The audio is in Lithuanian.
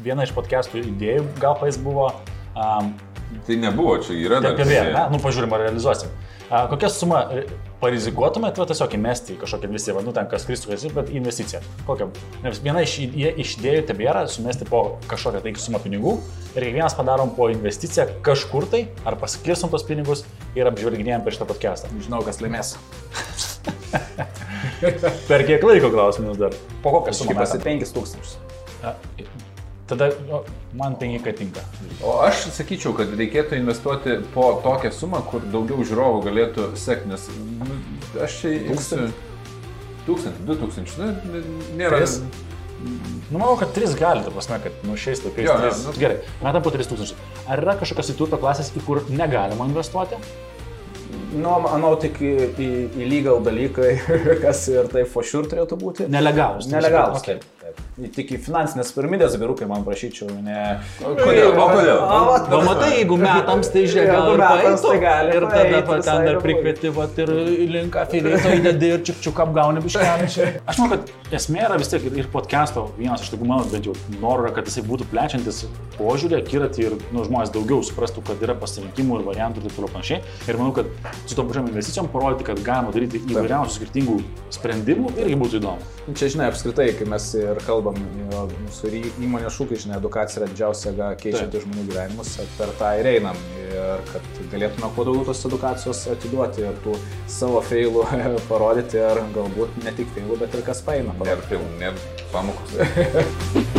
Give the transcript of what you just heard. Viena iš podcastų idėjų gapais buvo, um, Tai nebuvo, čia yra taip dar. ir vėl, ne? idėja. nu pažiūrim ar realizuosim. Uh, kokią sumą ri- parizikuotumėt, va, tiesiog įmesti į kažkokią investiciją, va, nu ten kas kristų, kas ir, bet investicija. Kokia? Nes viena iš, idė- iš idėjų tebėra sumesti po kažkokią tai sumą pinigų ir kiekvienas padarom po investiciją kažkur tai, ar paskirstom tos pinigus ir apžvelginėjom per šitą podcastą. Žinau, kas laimės. Per kiek laiko klausimas dar? Po kokią sumą sumą? metam? 5000. A, Tada o, man tai penkiai tinka. O aš sakyčiau, kad reikėtų investuoti po tokią sumą, kur daugiau žiūrovų galėtų sekti, nes nu, aš čia... Tūkstantį? Tūkstantį, du tūkstančius, nu, n- nėra... Tris? Nu, manau, kad 3 gali, ta prasme, kad nu, šiais laikais. Jo, jo, trys- nu. Gerai, metam po 3000. Ar yra kažkokios įturto klasės, į kur negalima investuoti? Nu, manau, tik į, į, į legal dalykai, kas ir taip for sure turėtų būti. Nelegalūs. ta prasme, Nelegalus. tai okei. Taip. taip. Tik į finansinės piramidės vyrukai man prašyčiau, ne. O kodėl? O kodėl? vat, Va, matai, jeigu metams tai žiūrėk, gal Jeigu ir metams paimtum, tai gali ir tada va, paeit, ten visai dar neblogai. prikvieti, va, ir link afilieto įdedi ir čiukčiuk apgauni biškelį. Aš manau, kad esmė yra vis tiek ir- ir podcast'o vienas iš tokių mano bent jau norų yra, kad jisai būtų plečiantis požiūrį, akiratį ir nu, žmonės daugiau suprastų, kad yra pasirinkimų ir variantų ir taip toliau panašiai. Ir manau, kad su tom pačiom investicijom parodyti, kad galima daryti įvairiausių skirtingų sprendimų irgi būtų įdomu. Nu, Čia, žinai, apskritai, kai mes ir kalbam, jo, mūsų ir į- įmonės šūkiai, žinai, edukacija yra didžiausia ga- keičianti žmonių gyvenimus, per tą ir einam. Ir kad galėtume kuo daugiau tos edukacijos atiduoti ir tų savo feilų parodyti, ir galbūt ne tik feilų, bet ir kas paina. Nėra filmų, nėra pamokos.